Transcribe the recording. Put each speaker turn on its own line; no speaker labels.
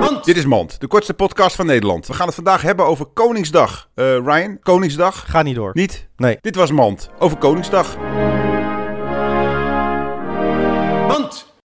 Mand.
Dit is Mand, de kortste podcast van Nederland. We gaan het vandaag hebben over Koningsdag. Eh, Ryan, Koningsdag?
Ga niet door.
Niet?
Nee.
Dit was Mand, over Koningsdag.